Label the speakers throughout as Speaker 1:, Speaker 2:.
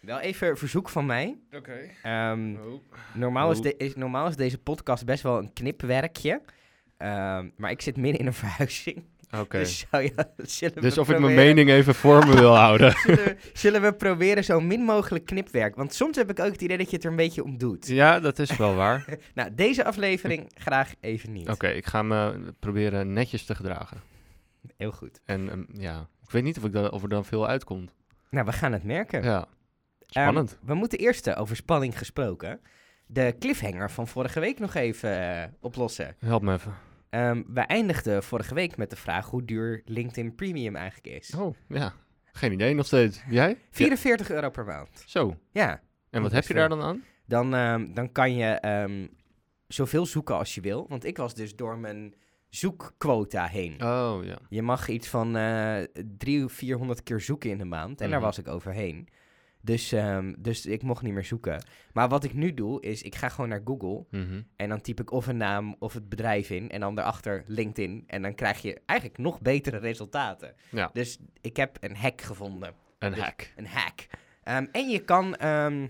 Speaker 1: Wel even een verzoek van mij.
Speaker 2: Oké.
Speaker 3: Hm.
Speaker 1: Ehm,
Speaker 2: Oh.
Speaker 1: normaal, is
Speaker 3: Oh.
Speaker 1: de- is, normaal is deze podcast best wel een knipwerkje. Ehm, maar ik zit midden in een verhuizing.
Speaker 3: Oké.
Speaker 1: Dus, zou je, zullen we
Speaker 3: Dus of ik mijn
Speaker 1: proberen-
Speaker 3: mening even voor me wil houden.
Speaker 1: Zullen, we- zullen we proberen zo min mogelijk knipwerk? Want soms heb ik ook het idee dat je het er een beetje om doet.
Speaker 3: Ja, dat is wel waar. Oké,
Speaker 1: Nou, deze aflevering graag even niet.
Speaker 3: ik ga me proberen netjes te gedragen.
Speaker 1: Heel goed.
Speaker 3: En ehm, ja, ik weet niet of, ik da- of er dan veel uitkomt.
Speaker 1: Nou, we gaan het merken.
Speaker 3: Ja,
Speaker 1: Ehm,
Speaker 3: spannend.
Speaker 1: we moeten eerst eh, over spanning gesproken. De cliffhanger van vorige week nog even eh, oplossen.
Speaker 3: Help me even.
Speaker 1: Ehm, we eindigden vorige week met de vraag hoe duur LinkedIn Premium eigenlijk is.
Speaker 3: Oh, ja. Geen idee nog steeds. Jij?
Speaker 1: 44 euro per maand.
Speaker 3: Zo.
Speaker 1: Ja,
Speaker 3: En wat
Speaker 1: Best
Speaker 3: heb je
Speaker 1: wel.
Speaker 3: daar dan aan?
Speaker 1: dan, ehm, dan kan je ehm, zoveel zoeken als je wil. Want ik was dus door mijn zoekquota heen.
Speaker 3: Oh, ja.
Speaker 1: Je mag iets van eh 300 of 400 keer zoeken in de maand. En daar
Speaker 3: Mhm.
Speaker 1: was ik overheen. Dus, ehm, dus ik mocht niet meer zoeken. Maar wat ik nu doe, is ik ga gewoon naar Google.
Speaker 3: Mhm.
Speaker 1: En dan typ ik of een naam of het bedrijf in. En dan daarachter LinkedIn. En dan krijg je eigenlijk nog betere resultaten.
Speaker 3: Ja.
Speaker 1: Dus ik heb een hack gevonden.
Speaker 3: Een
Speaker 1: Dus-
Speaker 3: hack.
Speaker 1: Een hack. Ehm, en je kan ehm,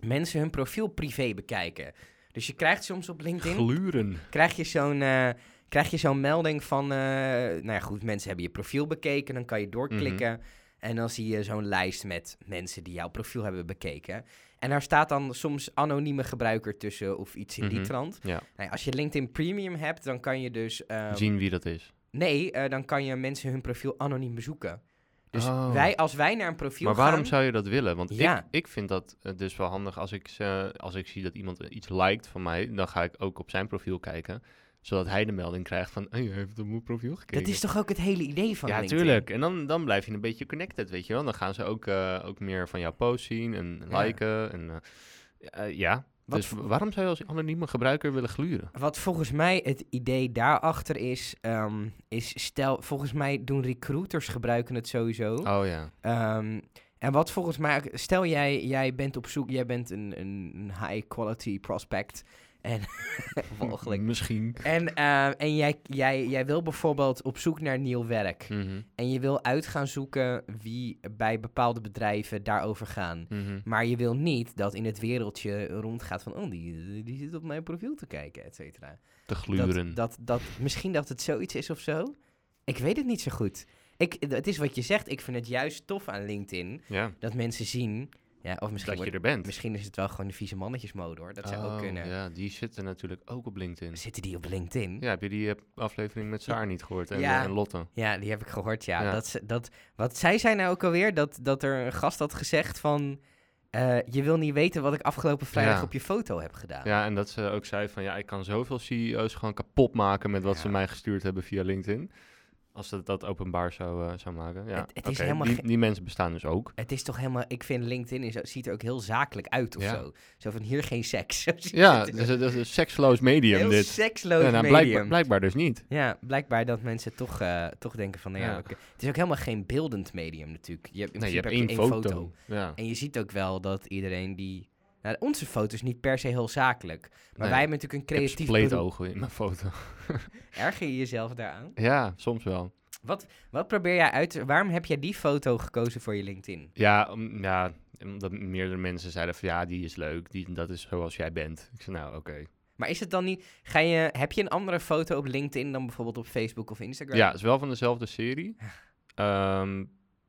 Speaker 1: mensen hun profiel privé bekijken. Dus je krijgt soms op LinkedIn
Speaker 3: Gluren.
Speaker 1: krijg je zo'n eh, krijg je zo'n melding van, eh, nou ja, goed, mensen hebben je profiel bekeken, dan kan je doorklikken
Speaker 3: Mhm.
Speaker 1: en dan zie je zo'n lijst met mensen die jouw profiel hebben bekeken. En daar staat dan soms anonieme gebruiker tussen of iets in die
Speaker 3: Mhm,
Speaker 1: trant.
Speaker 3: ja.
Speaker 1: Nou ja, als je LinkedIn Premium hebt, dan kan je dus ehm,
Speaker 3: Zien wie dat is.
Speaker 1: nee, eh, dan kan je mensen hun profiel anoniem bezoeken. Dus
Speaker 3: Oh.
Speaker 1: wij, als wij naar een profiel
Speaker 3: Maar waarom
Speaker 1: gaan,
Speaker 3: zou je dat willen? Want ik,
Speaker 1: Ja.
Speaker 3: ik vind dat eh, dus wel handig als ik, eh, als ik zie dat iemand iets liked van mij, dan ga ik ook op zijn profiel kijken, zodat hij de melding krijgt van, hey, je heeft op mijn profiel gekeken.
Speaker 1: dat is toch ook het hele idee van
Speaker 3: ja,
Speaker 1: LinkedIn?
Speaker 3: tuurlijk. En dan, dan blijf je een beetje connected, weet je wel. Dan gaan ze ook, eh, ook meer van jouw post zien en
Speaker 1: Ja.
Speaker 3: liken. En, eh, eh, ja,
Speaker 1: Wat
Speaker 3: dus
Speaker 1: voor-
Speaker 3: waarom zou je als anonieme gebruiker willen gluren?
Speaker 1: Wat volgens mij het idee daarachter is, ehm, is stel, volgens mij doen recruiters gebruiken het sowieso.
Speaker 3: Oh ja.
Speaker 1: Ehm, en wat volgens mij, ook- stel jij, jij bent op zoek, jij bent een, een een high quality prospect. En, mogelijk.
Speaker 3: Misschien.
Speaker 1: en, ehm, en jij, jij, jij wil bijvoorbeeld op zoek naar nieuw werk.
Speaker 3: Mhm,
Speaker 1: En je wil uit gaan zoeken wie bij bepaalde bedrijven daarover gaan.
Speaker 3: mhm.
Speaker 1: Maar je wil niet dat in het wereldje rondgaat van, oh, die, die zit op mijn profiel te kijken, et cetera.
Speaker 3: Te
Speaker 1: Dat,
Speaker 3: gluren.
Speaker 1: dat, dat, misschien dat het zoiets is of zo. Ik weet het niet zo goed. Ik, het is wat je zegt. Ik vind het juist tof aan LinkedIn.
Speaker 3: ja,
Speaker 1: Dat mensen zien. Ja, of misschien,
Speaker 3: dat je
Speaker 1: wordt-
Speaker 3: er bent.
Speaker 1: misschien is het wel gewoon de vieze mannetjesmode hoor. Dat zou
Speaker 3: Oh,
Speaker 1: ook kunnen.
Speaker 3: Ja, die zitten natuurlijk ook op LinkedIn.
Speaker 1: Zitten die op LinkedIn? Ja,
Speaker 3: Ja, heb je die eh, aflevering met Saar niet gehoord? En, eh,
Speaker 1: Ja.
Speaker 3: en Lotte.
Speaker 1: die heb ik gehoord. Ja.
Speaker 3: Ja.
Speaker 1: Dat, ze- dat, wat zei zij nou ook alweer? Dat, dat er een gast had gezegd van. eh, je wil niet weten wat ik afgelopen vrijdag
Speaker 3: Ja.
Speaker 1: op je foto heb gedaan.
Speaker 3: Ja, en dat ze ook zei van ja, ik kan zoveel CEO's gewoon kapot maken met wat ze
Speaker 1: Ja.
Speaker 3: mij gestuurd hebben via LinkedIn. Als ze dat openbaar zou, eh, zou maken. Ja,
Speaker 1: Het- het is
Speaker 3: oké,
Speaker 1: helemaal
Speaker 3: die,
Speaker 1: ge-
Speaker 3: die mensen bestaan dus ook.
Speaker 1: Het is toch helemaal. Ik vind LinkedIn is, ziet er ook heel zakelijk uit of
Speaker 3: Ja.
Speaker 1: zo. Zo van hier geen seks. Zo ziet
Speaker 3: Ja,
Speaker 1: het er-
Speaker 3: dus het is een seksloos medium
Speaker 1: heel
Speaker 3: dit.
Speaker 1: seksloos
Speaker 3: nou,
Speaker 1: medium.
Speaker 3: blijkbaar, blijkbaar dus niet.
Speaker 1: Ja, blijkbaar dat mensen toch, eh, toch denken van... Nou ja,
Speaker 3: Ja.
Speaker 1: oké. Het is ook helemaal geen beeldend medium natuurlijk. Je hebt, in
Speaker 3: Nee, je hebt
Speaker 1: principe
Speaker 3: één
Speaker 1: heb
Speaker 3: foto. Ja.
Speaker 1: En je ziet ook wel dat iedereen die... Nou, onze foto's niet per se heel zakelijk. Maar
Speaker 3: Nee,
Speaker 1: wij hebben natuurlijk een
Speaker 3: Ik heb
Speaker 1: creatief
Speaker 3: spleet
Speaker 1: beroep.
Speaker 3: ogen in mijn foto.
Speaker 1: Erger je jezelf daaraan?
Speaker 3: Ja, soms wel.
Speaker 1: Wat, wat probeer jij uit... te- Waarom heb jij die foto gekozen voor je LinkedIn?
Speaker 3: Ja, om- ja, omdat meerdere mensen zeiden van ja, die is leuk, die, dat is zoals jij bent. Ik zei nou, oké.
Speaker 1: Maar is het dan niet... Ga je, heb je een andere foto op LinkedIn dan bijvoorbeeld op Facebook of Instagram?
Speaker 3: Ja, het is wel van dezelfde serie. Ehm,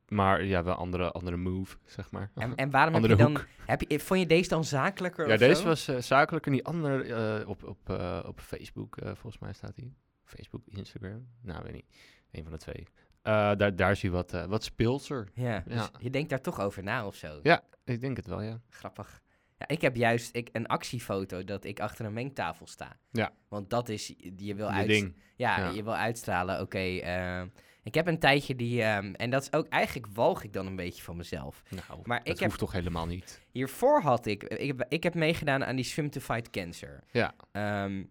Speaker 3: maar ja, wel andere, andere move, zeg maar.
Speaker 1: En, en waarom heb je
Speaker 3: andere
Speaker 1: dan...
Speaker 3: hoek.
Speaker 1: Heb je, vond je deze dan zakelijker
Speaker 3: Ja,
Speaker 1: of
Speaker 3: deze
Speaker 1: zo?
Speaker 3: was eh, zakelijk en die andere eh, op, op, eh, op Facebook, eh, volgens mij staat die. Facebook, Instagram? Nou, weet niet. Een van de twee. Eh, daar, daar zie je wat, eh, wat speelser.
Speaker 1: Ja, dus
Speaker 3: Ja.
Speaker 1: je denkt daar toch over na of zo.
Speaker 3: Ik denk het wel, ja.
Speaker 1: Grappig. Ja, ik heb juist ik, een actiefoto dat ik achter een mengtafel sta.
Speaker 3: Ja.
Speaker 1: Want dat is, je wil,
Speaker 3: Je
Speaker 1: uit,
Speaker 3: ding.
Speaker 1: ja,
Speaker 3: ja.
Speaker 1: Je wil uitstralen, oké. eh, ik heb een tijdje die, ehm, en dat is ook, eigenlijk walg ik dan een beetje van mezelf.
Speaker 3: Nou,
Speaker 1: Maar
Speaker 3: dat
Speaker 1: ik heb-
Speaker 3: hoeft toch helemaal niet.
Speaker 1: Hiervoor had ik, eh, ik heb, ik heb meegedaan aan die Swim to Fight Cancer.
Speaker 3: Ja.
Speaker 1: Ehm,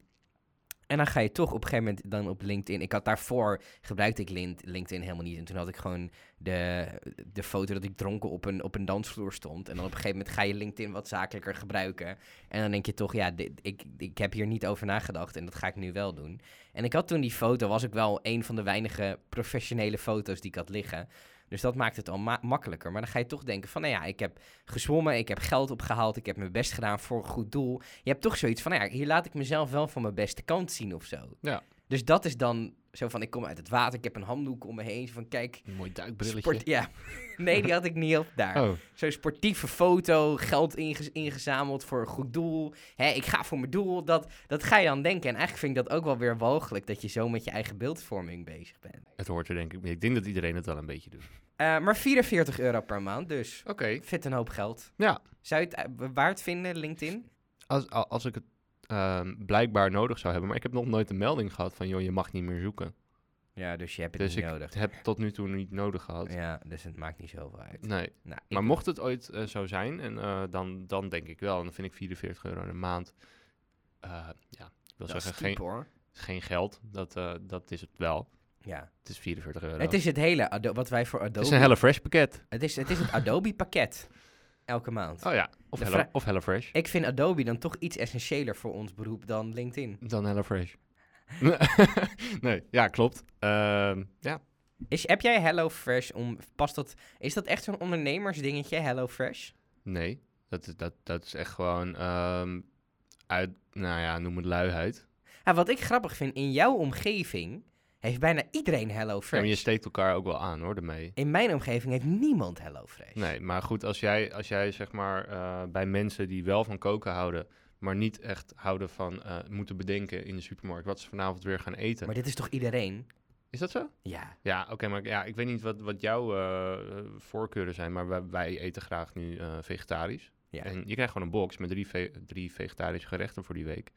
Speaker 1: en dan ga je toch op een gegeven moment dan op LinkedIn. Ik had daarvoor, gebruikte ik Lin- LinkedIn helemaal niet. En toen had ik gewoon de, de foto dat ik dronken op een, op een dansvloer stond. En dan op een gegeven moment ga je LinkedIn wat zakelijker gebruiken. En dan denk je toch, ja, dit, ik, ik heb hier niet over nagedacht en dat ga ik nu wel doen. En ik had toen die foto, was ook wel een van de weinige professionele foto's die ik had liggen. Dus dat maakt het al ma- makkelijker. Maar dan ga je toch denken van, nou ja, ik heb gezwommen, ik heb geld opgehaald, ik heb mijn best gedaan voor een goed doel. Je hebt toch zoiets van, nou ja, hier laat ik mezelf wel van mijn beste kant zien of zo.
Speaker 3: Ja.
Speaker 1: Dus dat is dan zo van, ik kom uit het water, ik heb een handdoek om me heen. Zo Van kijk,
Speaker 3: Een mooi duikbrilletje.
Speaker 1: sport, ja. nee, die had ik niet op daar.
Speaker 3: Oh,
Speaker 1: Zo'n sportieve foto, geld inge- ingezameld voor een goed doel. Hè, ik ga voor mijn doel. Dat, dat ga je dan denken. En eigenlijk vind ik dat ook wel weer walgelijk dat je zo met je eigen beeldvorming bezig bent.
Speaker 3: het hoort er denk ik. mee. Ik denk dat iedereen het wel een beetje doet.
Speaker 1: Eh, maar 44 euro per maand, dus
Speaker 3: Oké.
Speaker 1: fit een hoop geld.
Speaker 3: Ja.
Speaker 1: Zou je het eh, waard vinden, LinkedIn?
Speaker 3: Als, a- als ik het ehm, blijkbaar nodig zou hebben, maar ik heb nog nooit een melding gehad van joh, je mag niet meer zoeken.
Speaker 1: Ja, dus je hebt het
Speaker 3: dus
Speaker 1: niet
Speaker 3: ik
Speaker 1: nodig.
Speaker 3: heb tot nu toe niet nodig gehad.
Speaker 1: Ja, dus het maakt niet zoveel uit.
Speaker 3: Nee.
Speaker 1: Nou, ik-
Speaker 3: Maar mocht het ooit eh, zo zijn, en, eh, dan, dan denk ik wel. En dan vind ik 44 euro in de maand. eh, ja, ik wil
Speaker 1: dat is
Speaker 3: zeggen,
Speaker 1: cheap,
Speaker 3: geen,
Speaker 1: hoor.
Speaker 3: geen geld. Dat, eh, dat is het wel.
Speaker 1: Ja.
Speaker 3: Het is 44 euro.
Speaker 1: Het is het hele, Ado- wat wij voor Adobe...
Speaker 3: het is een HelloFresh pakket.
Speaker 1: het, is, het is het Adobe pakket. Elke maand.
Speaker 3: Oh ja, of,
Speaker 1: De
Speaker 3: Hello,
Speaker 1: vra-
Speaker 3: of HelloFresh.
Speaker 1: Ik vind Adobe dan toch iets essentiëler voor ons beroep dan LinkedIn.
Speaker 3: Dan HelloFresh. nee, ja, klopt. Ehm, ja,
Speaker 1: Is, heb jij HelloFresh om. Past dat, is dat echt zo'n ondernemersdingetje, HelloFresh?
Speaker 3: nee. Dat, is- dat, dat is echt gewoon ehm, uit, nou ja, noem het luiheid.
Speaker 1: Ja, wat ik grappig vind, in jouw omgeving heeft bijna iedereen
Speaker 3: Ja, maar je
Speaker 1: HelloFresh.
Speaker 3: steekt elkaar ook wel aan hoor, ermee.
Speaker 1: in mijn omgeving heeft niemand HelloFresh.
Speaker 3: Nee, maar goed, als jij, als jij zeg maar eh, bij mensen die wel van koken houden, maar niet echt houden van eh, moeten bedenken in de supermarkt wat ze vanavond weer gaan eten.
Speaker 1: Maar dit is toch iedereen?
Speaker 3: Is dat zo?
Speaker 1: Ja.
Speaker 3: Ja, oké, maar ja, ik weet niet wat, wat jouw eh, eh, voorkeuren zijn, maar wij, wij eten graag nu eh, vegetarisch.
Speaker 1: Ja.
Speaker 3: En je krijgt gewoon een box met drie, ve- drie vegetarische gerechten voor die week.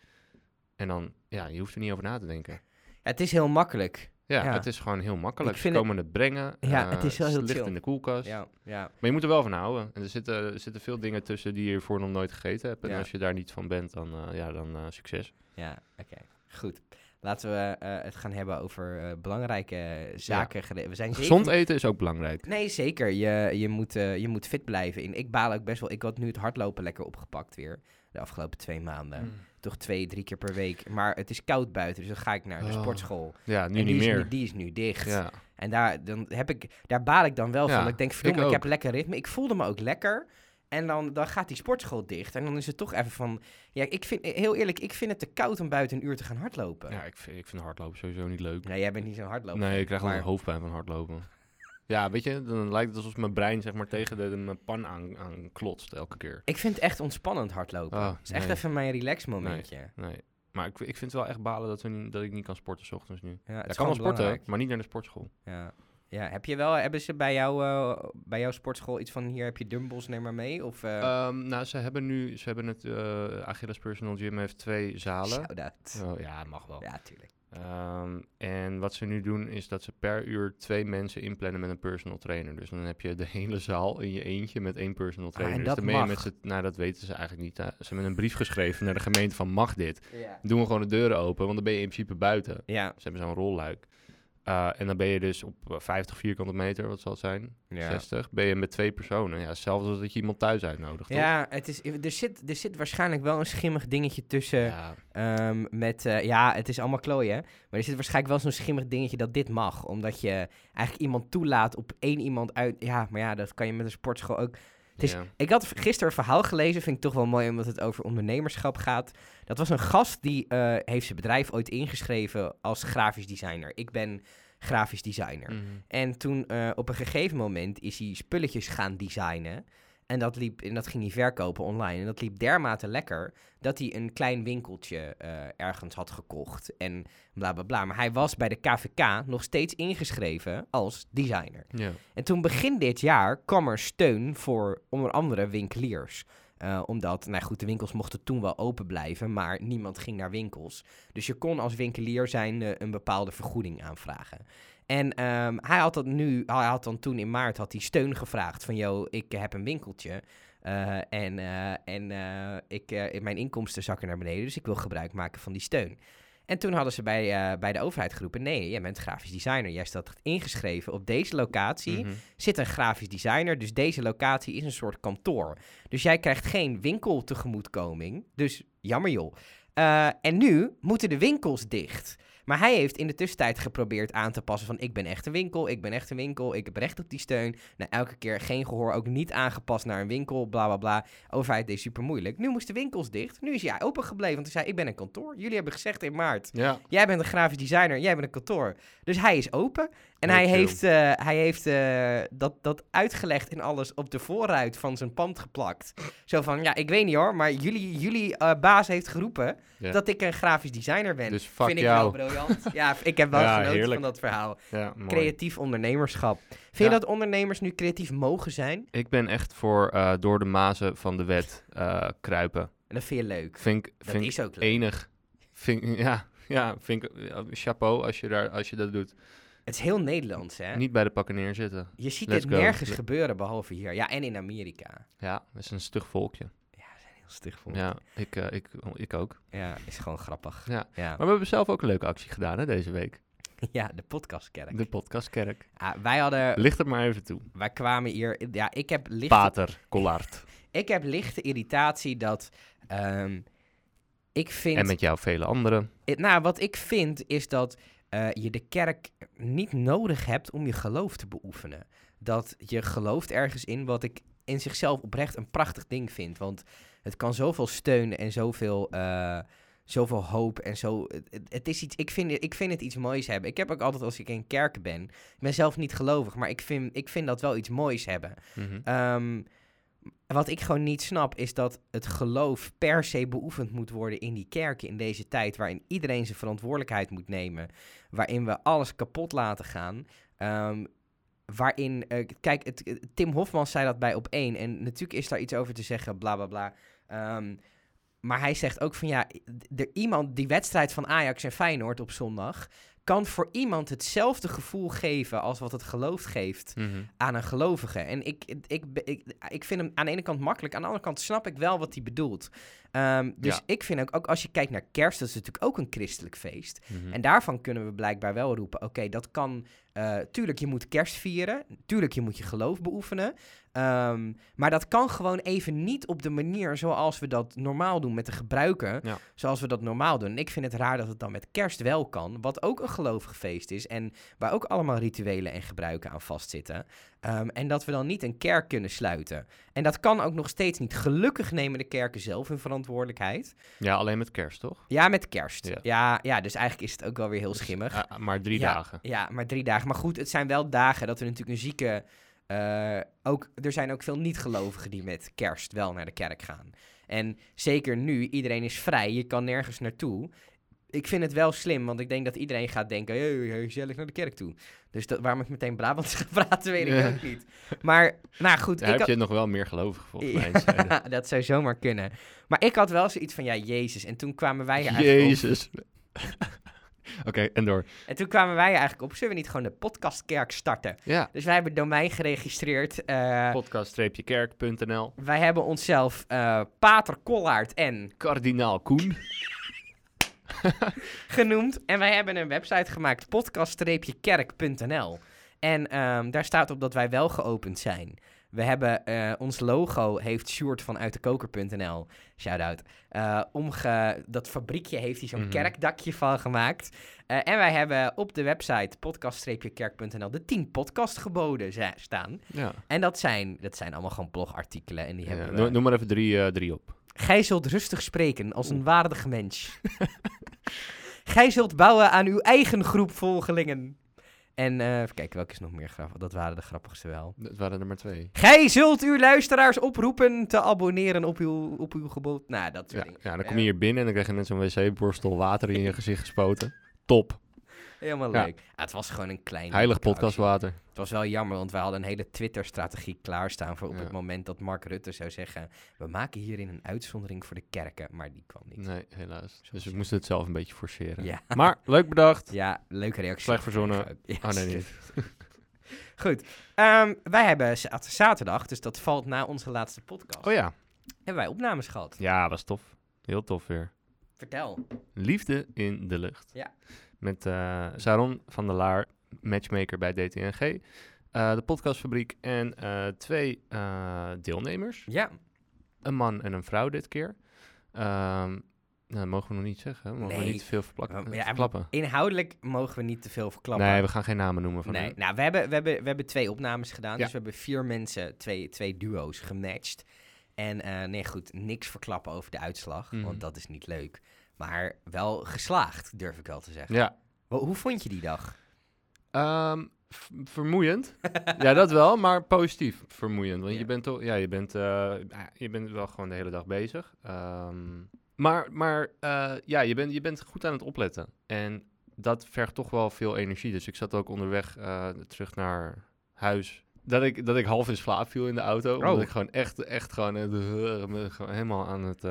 Speaker 3: En dan, ja, je hoeft er niet over na te denken.
Speaker 1: Het is heel makkelijk.
Speaker 3: Ja,
Speaker 1: Ja.
Speaker 3: het is gewoon heel makkelijk.
Speaker 1: Ik
Speaker 3: Ze
Speaker 1: vind het-
Speaker 3: komen het brengen.
Speaker 1: Ja,
Speaker 3: eh,
Speaker 1: het is wel heel
Speaker 3: Het ligt
Speaker 1: chill.
Speaker 3: in de koelkast.
Speaker 1: Ja, ja.
Speaker 3: Maar je moet er wel van houden. En er zitten, er zitten veel dingen tussen die je hiervoor nog nooit gegeten hebt. En
Speaker 1: Ja.
Speaker 3: als je daar niet van bent, dan, eh, ja, dan eh, succes.
Speaker 1: Ja, oké. Goed. Laten we eh, het gaan hebben over eh, belangrijke zaken. gere- We zijn zeker
Speaker 3: Gezond eten is ook belangrijk.
Speaker 1: Nee, zeker. Je, je, moet, eh, je moet fit blijven. En ik baal ook best wel. Ik had nu het hardlopen lekker opgepakt weer. De afgelopen twee maanden.
Speaker 3: Hmm.
Speaker 1: Toch twee, drie keer per week. Maar het is koud buiten, dus dan ga ik naar de
Speaker 3: Oh,
Speaker 1: sportschool.
Speaker 3: Ja, nu
Speaker 1: en die,
Speaker 3: niet
Speaker 1: is
Speaker 3: meer.
Speaker 1: Nu, die is nu dicht.
Speaker 3: Ja.
Speaker 1: En daar, dan heb ik, daar baal ik dan wel
Speaker 3: Ja,
Speaker 1: van. Dat Ik denk, verdomme,
Speaker 3: ik
Speaker 1: ik,
Speaker 3: ook.
Speaker 1: heb lekker ritme. Ik voelde me ook lekker. En dan, dan gaat die sportschool dicht. En dan is het toch even van... Ja, ik vind, heel eerlijk, ik vind het te koud om buiten een uur te gaan hardlopen.
Speaker 3: ja, ik vind, ik vind hardlopen sowieso niet leuk.
Speaker 1: Nee, jij bent niet zo'n hardloper.
Speaker 3: Nee, ik krijg wel
Speaker 1: maar-
Speaker 3: hoofdpijn van hardlopen. Ja, weet je, dan lijkt het alsof mijn brein zeg maar tegen de, de- mijn pan aan, aan klotst elke keer.
Speaker 1: Ik vind het echt ontspannend hardlopen.
Speaker 3: Ah,
Speaker 1: Het is echt
Speaker 3: nee.
Speaker 1: even mijn relax momentje.
Speaker 3: Nee. Maar ik, ik vind het wel echt balen dat, we niet, dat ik niet kan sporten 's ochtends nu.
Speaker 1: Ja, het
Speaker 3: ik
Speaker 1: is
Speaker 3: kan
Speaker 1: gewoon
Speaker 3: wel sporten,
Speaker 1: belangrijk.
Speaker 3: maar niet naar de sportschool.
Speaker 1: Ja. ja, heb je wel, hebben ze bij, jou, eh, bij jouw sportschool iets van hier heb je dumbbells, neem maar mee? Of eh
Speaker 3: Ehm, nou, ze hebben nu, ze hebben het, eh Achilles Personal Gym heeft twee zalen.
Speaker 1: shout-out?
Speaker 3: Oh, ja, mag wel.
Speaker 1: Ja, tuurlijk.
Speaker 3: Ehm, en wat ze nu doen is dat ze per uur twee mensen inplannen met een personal trainer. Dus dan heb je de hele zaal in je eentje met één personal trainer.
Speaker 1: Ah, en
Speaker 3: dus
Speaker 1: dat
Speaker 3: dan ben je
Speaker 1: mag.
Speaker 3: met z'n- nou, dat weten ze eigenlijk niet. Eh, ze hebben een brief geschreven naar de gemeente van mag dit?
Speaker 1: Ja.
Speaker 3: Doen we gewoon de deuren open, want dan ben je in principe buiten.
Speaker 1: Ja.
Speaker 3: Ze hebben zo'n rolluik. Eh, en dan ben je dus op eh, 50 vierkante meter, wat zal het zijn? 60. Ben je met twee personen. Ja, hetzelfde als dat je iemand thuis uitnodigt. toch?
Speaker 1: Ja, het is, er, zit, er zit waarschijnlijk wel een schimmig dingetje tussen.
Speaker 3: Ja,
Speaker 1: ehm, met, eh, ja, het is allemaal klooien. Maar er zit waarschijnlijk wel zo'n schimmig dingetje dat dit mag. Omdat je eigenlijk iemand toelaat op één iemand uit. Ja, maar ja, dat kan je met een sportschool ook. Het is
Speaker 3: ja.
Speaker 1: Ik had gisteren een verhaal gelezen, vind ik toch wel mooi omdat het over ondernemerschap gaat. Dat was een gast die eh, heeft zijn bedrijf ooit ingeschreven als grafisch designer. Ik ben grafisch designer.
Speaker 3: Mhm.
Speaker 1: En toen eh, op een gegeven moment is hij spulletjes gaan designen. En dat, liep, en dat ging hij verkopen online. En dat liep dermate lekker dat hij een klein winkeltje eh, ergens had gekocht. En bla bla bla. Maar hij was bij de KVK nog steeds ingeschreven als designer.
Speaker 3: ja.
Speaker 1: En toen begin dit jaar kwam er steun voor onder andere winkeliers. Eh, omdat, nou goed, de winkels mochten toen wel open blijven, maar niemand ging naar winkels. Dus je kon als winkelier zijn een bepaalde vergoeding aanvragen. En ehm, hij had dat nu, hij had dan toen in maart had hij steun gevraagd van, yo, ik heb een winkeltje. eh, en eh, en eh, ik, eh, mijn inkomsten zakken naar beneden, dus ik wil gebruik maken van die steun. En toen hadden ze bij, eh, bij de overheid geroepen, nee, jij bent grafisch designer. Jij staat ingeschreven op deze locatie
Speaker 3: Mhm.
Speaker 1: zit een grafisch designer. Dus deze locatie is een soort kantoor. Dus jij krijgt geen winkel tegemoetkoming. Dus jammer joh. Eh, en nu moeten de winkels dicht. Maar hij heeft in de tussentijd geprobeerd aan te passen van ik ben echt een winkel, ik ben echt een winkel, ik heb recht op die steun. Nou, elke keer geen gehoor, ook niet aangepast naar een winkel, bla bla bla. Overheid deed super moeilijk. Nu moesten winkels dicht, nu is hij open gebleven, want hij zei ik ben een kantoor. Jullie hebben gezegd in maart,
Speaker 3: Ja.
Speaker 1: jij bent een grafisch designer, jij bent een kantoor. Dus hij is open en
Speaker 3: Heel
Speaker 1: hij
Speaker 3: chill.
Speaker 1: heeft, eh, hij heeft eh, dat, dat uitgelegd en alles op de voorruit van zijn pand geplakt. Zo van, ja, ik weet niet hoor, maar jullie, jullie eh, baas heeft geroepen
Speaker 3: Ja.
Speaker 1: dat ik een grafisch designer ben.
Speaker 3: Dus fuck
Speaker 1: Vind
Speaker 3: jou.
Speaker 1: ik wel briljant. ja, ik heb wel
Speaker 3: Ja,
Speaker 1: genoten
Speaker 3: heerlijk.
Speaker 1: van dat verhaal.
Speaker 3: Ja, mooi.
Speaker 1: Creatief ondernemerschap. Vind je
Speaker 3: Ja.
Speaker 1: dat ondernemers nu creatief mogen zijn?
Speaker 3: Ik ben echt voor eh, door de mazen van de wet eh, kruipen.
Speaker 1: En dat vind je leuk.
Speaker 3: Vind ik
Speaker 1: Dat
Speaker 3: vind ik e-
Speaker 1: is ook leuk.
Speaker 3: enig. Vind, ik- ja, ja, vind ik eh, chapeau als je, daar, als je dat doet.
Speaker 1: Het is heel Nederlands, hè?
Speaker 3: Niet bij de pakken neerzitten.
Speaker 1: Je ziet
Speaker 3: Let's
Speaker 1: het
Speaker 3: go.
Speaker 1: nergens
Speaker 3: Le-
Speaker 1: gebeuren behalve hier. Ja, en in Amerika.
Speaker 3: Ja, dat is een stug volkje.
Speaker 1: Heel stig voor. Ja.
Speaker 3: Ja, ik, eh, ik, ik ook.
Speaker 1: is gewoon grappig.
Speaker 3: Ja.
Speaker 1: Ja,
Speaker 3: Maar we hebben zelf ook een leuke actie gedaan hè, deze week.
Speaker 1: ja de podcastkerk.
Speaker 3: De podcastkerk.
Speaker 1: Ah, wij hadden,
Speaker 3: Licht het maar even toe.
Speaker 1: wij kwamen hier. Ja, ik heb lichte,
Speaker 3: Pater Collard.
Speaker 1: ik heb lichte irritatie dat. ehm, ik vind.
Speaker 3: En met jou vele anderen.
Speaker 1: Eh, Nou, wat ik vind is dat eh, je de kerk niet nodig hebt om je geloof te beoefenen. Dat je gelooft ergens in wat ik in zichzelf oprecht een prachtig ding vind. Want het kan zoveel steun en zoveel, eh, zoveel hoop en zo. Het, het- het is iets, ik, vind, het- ik vind het iets moois hebben. Ik heb ook altijd als ik in kerken ben, ik ben zelf niet gelovig, maar ik vind, ik vind dat wel iets moois hebben.
Speaker 3: Mhm.
Speaker 1: Ehm, wat ik gewoon niet snap is dat het geloof per se beoefend moet worden in die kerken in deze tijd waarin iedereen zijn verantwoordelijkheid moet nemen, waarin we alles kapot laten gaan. Ehm, waarin, eh, kijk, het, eh, Tim Hofman zei dat bij op één en natuurlijk is daar iets over te zeggen, bla bla bla. Ehm, maar hij zegt ook van ja, d- er, iemand die wedstrijd van Ajax en Feyenoord op zondag kan voor iemand hetzelfde gevoel geven als wat het geloof geeft
Speaker 3: Mhm.
Speaker 1: aan een gelovige. En ik, ik, ik, ik, ik vind hem aan de ene kant makkelijk, aan de andere kant snap ik wel wat hij bedoelt. Ehm, dus
Speaker 3: Ja.
Speaker 1: ik vind ook, ook als je kijkt naar kerst, dat is natuurlijk ook een christelijk feest.
Speaker 3: Mhm.
Speaker 1: En daarvan kunnen we blijkbaar wel roepen, oké, dat kan, eh, tuurlijk je moet kerst vieren, tuurlijk je moet je geloof beoefenen, ehm, maar dat kan gewoon even niet op de manier zoals we dat normaal doen met de gebruiken,
Speaker 3: Ja.
Speaker 1: zoals we dat normaal doen. En ik vind het raar dat het dan met kerst wel kan, wat ook een gelovig feest is en waar ook allemaal rituelen en gebruiken aan vastzitten. Ehm, en dat we dan niet een kerk kunnen sluiten. En dat kan ook nog steeds niet. Gelukkig nemen de kerken zelf hun verantwoordelijkheid.
Speaker 3: Ja, alleen met kerst, toch?
Speaker 1: Ja, met kerst. Ja,
Speaker 3: Ja.
Speaker 1: ja, dus eigenlijk is het ook wel weer heel schimmig.
Speaker 3: Ah, ah, maar drie
Speaker 1: Ja.
Speaker 3: dagen.
Speaker 1: Ja, maar drie dagen. Maar goed, het zijn wel dagen dat er natuurlijk een zieke. eh, ook, er zijn ook veel niet-gelovigen die met kerst wel naar de kerk gaan. En zeker nu, iedereen is vrij, je kan nergens naartoe. Ik vind het wel slim, want ik denk dat iedereen gaat denken: hey, hey, gezellig naar de kerk toe. Dus dat, waarom ik meteen Brabants ga praten, weet ik
Speaker 3: Ja.
Speaker 1: ook niet. Maar, nou goed,
Speaker 3: Daar
Speaker 1: ik
Speaker 3: heb
Speaker 1: had-
Speaker 3: je nog wel meer gelovig volgens mij. in Zweden.
Speaker 1: ja, dat zou zomaar kunnen. Maar ik had wel zoiets van: ja, Jezus. En toen kwamen wij er eigenlijk op.
Speaker 3: Jezus. Oké, en door.
Speaker 1: En toen kwamen wij er eigenlijk op: zullen we niet gewoon de podcastkerk starten?
Speaker 3: Ja,
Speaker 1: Dus wij hebben het domein geregistreerd. eh,
Speaker 3: podcast-kerk.nl.
Speaker 1: wij hebben onszelf eh, Pater Kollaert en
Speaker 3: Kardinaal Koen.
Speaker 1: genoemd. En wij hebben een website gemaakt, podcast-kerk.nl. En ehm, daar staat op dat wij wel geopend zijn. We hebben, eh, ons logo heeft Sjoerd van uitdekoker.nl, shout-out, eh, omge... Dat fabriekje heeft hij zo'n
Speaker 3: Mhm.
Speaker 1: kerkdakje van gemaakt. Eh, en wij hebben op de website podcast-kerk.nl de 10 podcastgeboden za- staan.
Speaker 3: Ja.
Speaker 1: En dat zijn, dat zijn allemaal gewoon blogartikelen. En die
Speaker 3: Ja,
Speaker 1: hebben we...
Speaker 3: no- noem maar even drie, eh, drie op.
Speaker 1: Gij zult rustig spreken als een waardig mens. Gij zult bouwen aan uw eigen groep volgelingen. En eh even kijken, welke is nog meer grappig? Dat waren de grappigste wel.
Speaker 3: Dat waren er maar twee.
Speaker 1: Gij zult uw luisteraars oproepen te abonneren op uw, op uw gebod. Nou, dat soort
Speaker 3: Ja,
Speaker 1: dingen.
Speaker 3: ja, dan kom je hier binnen en dan krijg je net zo'n wc-borstel water in je gezicht gespoten. Top.
Speaker 1: Helemaal
Speaker 3: Ja.
Speaker 1: leuk. Ah, het was gewoon een klein...
Speaker 3: Heilig
Speaker 1: leuke actie.
Speaker 3: podcastwater.
Speaker 1: Het was wel jammer, want wij hadden een hele Twitter-strategie klaarstaan voor op
Speaker 3: Ja.
Speaker 1: het moment dat Mark Rutte zou zeggen... We maken hierin een uitzondering voor de kerken, maar die kwam niet.
Speaker 3: Nee, helaas. Dus we moesten het zelf een beetje forceren.
Speaker 1: Ja.
Speaker 3: Maar leuk bedacht.
Speaker 1: Ja, leuke reactie.
Speaker 3: Slecht verzonnen.
Speaker 1: Ja,
Speaker 3: Oh nee, niet.
Speaker 1: Goed. Ehm, wij hebben za- zaterdag, dus dat valt na onze laatste podcast.
Speaker 3: Oh ja.
Speaker 1: Hebben wij opnames gehad?
Speaker 3: Ja, was tof. Heel tof weer.
Speaker 1: Vertel.
Speaker 3: Liefde in de lucht.
Speaker 1: Ja.
Speaker 3: Met eh Saron van der Laar, matchmaker bij DTNG. eh, de podcastfabriek en eh, twee eh, deelnemers.
Speaker 1: Ja.
Speaker 3: Een man en een vrouw dit keer. Ehm, Nou, dat mogen we nog niet zeggen. Mogen we
Speaker 1: Nee.
Speaker 3: niet te veel verplakken,
Speaker 1: Maar ja,
Speaker 3: verklappen.
Speaker 1: Inhoudelijk mogen we niet te veel verklappen.
Speaker 3: Nee, we gaan geen namen noemen van
Speaker 1: Nee,
Speaker 3: hun.
Speaker 1: nou, we hebben, we, hebben, we hebben twee opnames gedaan.
Speaker 3: Ja.
Speaker 1: Dus we hebben vier mensen, twee, twee duo's gematcht. En eh, nee, goed, niks verklappen over de uitslag,
Speaker 3: Mhm.
Speaker 1: want dat is niet leuk. Maar wel geslaagd, durf ik wel te zeggen.
Speaker 3: Ja.
Speaker 1: Wa- Hoe vond je die dag?
Speaker 3: Ehm, v- vermoeiend. ja, dat wel, maar positief vermoeiend. Want
Speaker 1: Ja.
Speaker 3: je bent toch, ja, je bent, eh, ja, je bent wel gewoon de hele dag bezig. Ehm, maar, maar eh, ja, je bent, je bent goed aan het opletten. En dat vergt toch wel veel energie. Dus ik zat ook onderweg eh, terug naar huis. Dat ik, dat ik half in slaap viel in de auto. Omdat
Speaker 1: Oh.
Speaker 3: ik gewoon echt, echt gewoon, eh, me gewoon helemaal aan het eh,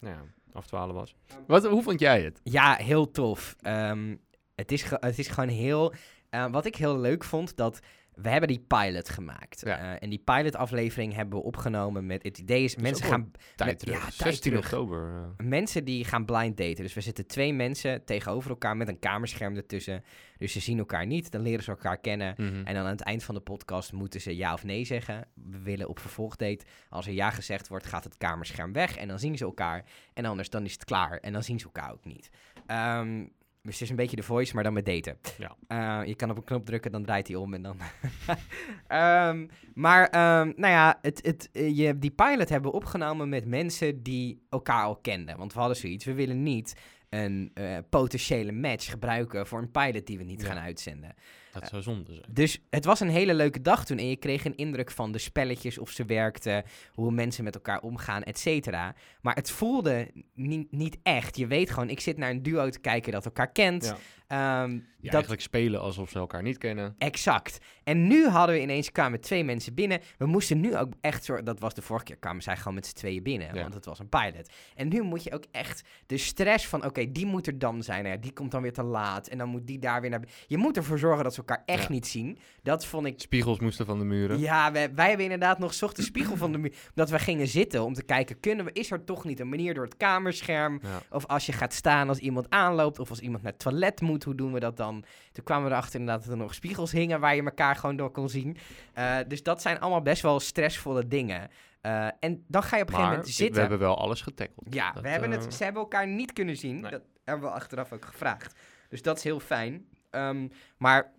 Speaker 3: nou ja, afdwalen was. Wat, hoe vond jij het?
Speaker 1: Ja, heel tof. Ehm, het, is ge- het is gewoon heel... eh, wat ik heel leuk vond, dat we hebben die pilot gemaakt.
Speaker 3: Ja.
Speaker 1: Eh, en die pilotaflevering hebben we opgenomen met... Het idee is, mensen
Speaker 3: ook wel
Speaker 1: gaan
Speaker 3: Tijd
Speaker 1: Met-
Speaker 3: terug.
Speaker 1: ja, tijd
Speaker 3: 16
Speaker 1: terug.
Speaker 3: oktober. eh.
Speaker 1: mensen die gaan blind daten. Dus we zitten twee mensen tegenover elkaar met een kamerscherm ertussen. Dus ze zien elkaar niet, dan leren ze elkaar kennen.
Speaker 3: Mhm.
Speaker 1: En eh, dan aan het eind van de podcast moeten ze ja of nee zeggen. We willen op vervolgdate. Als er ja gezegd wordt, gaat het kamerscherm weg. En dan zien ze elkaar. En anders dan is het klaar. En dan zien ze elkaar ook niet. Ehm, dus het is een beetje de voice, maar dan met daten.
Speaker 3: Ja.
Speaker 1: Eh, je kan op een knop drukken, dan draait hij om en dan... Ehm, maar, ehm, nou ja, het, het, eh, je, die pilot hebben we opgenomen met mensen die elkaar al kenden. Want we hadden zoiets, we willen niet een eh, potentiële match gebruiken voor een pilot die we niet
Speaker 3: Ja.
Speaker 1: gaan uitzenden.
Speaker 3: Dat zou zonde zijn.
Speaker 1: Dus het was een hele leuke dag toen. En je kreeg een indruk van de spelletjes, of ze werkten, hoe mensen met elkaar omgaan, et cetera. Maar het voelde ni- niet echt. Je weet gewoon, ik zit naar een duo te kijken dat elkaar kent.
Speaker 3: Ja.
Speaker 1: Ehm,
Speaker 3: Ja,
Speaker 1: dat,
Speaker 3: eigenlijk spelen alsof ze elkaar niet kennen.
Speaker 1: Exact. En nu hadden we ineens, kwamen twee mensen binnen. We moesten nu ook echt zorgen, dat was de vorige keer, kwamen zij gewoon met z'n tweeën binnen.
Speaker 3: Ja.
Speaker 1: Want het was een pilot. En nu moet je ook echt de stress van, oké, die moet er dan zijn. Hè, die komt dan weer te laat. En dan moet die daar weer naar... bi- Je moet ervoor zorgen dat ze elkaar echt
Speaker 3: Ja.
Speaker 1: niet zien. Dat vond ik
Speaker 3: Spiegels moesten van de muren.
Speaker 1: ja, wij, wij hebben inderdaad nog zocht de spiegel van de muur. Omdat we gingen zitten om te kijken, kunnen we, is er toch niet een manier door het kamerscherm?
Speaker 3: Ja.
Speaker 1: Of als je gaat staan als iemand aanloopt, of als iemand naar het toilet moet, hoe doen we dat dan? Toen kwamen we erachter inderdaad dat er nog spiegels hingen waar je elkaar gewoon door kon zien. Eh, dus dat zijn allemaal best wel stressvolle dingen. Eh, en dan ga je op een gegeven
Speaker 3: Maar
Speaker 1: moment
Speaker 3: we
Speaker 1: zitten.
Speaker 3: hebben wel alles getackled.
Speaker 1: Ja,
Speaker 3: Dat,
Speaker 1: we hebben
Speaker 3: eh,
Speaker 1: het, ze hebben elkaar niet kunnen zien.
Speaker 3: Nee.
Speaker 1: Dat hebben we achteraf ook gevraagd. Dus dat is heel fijn. Ehm, maar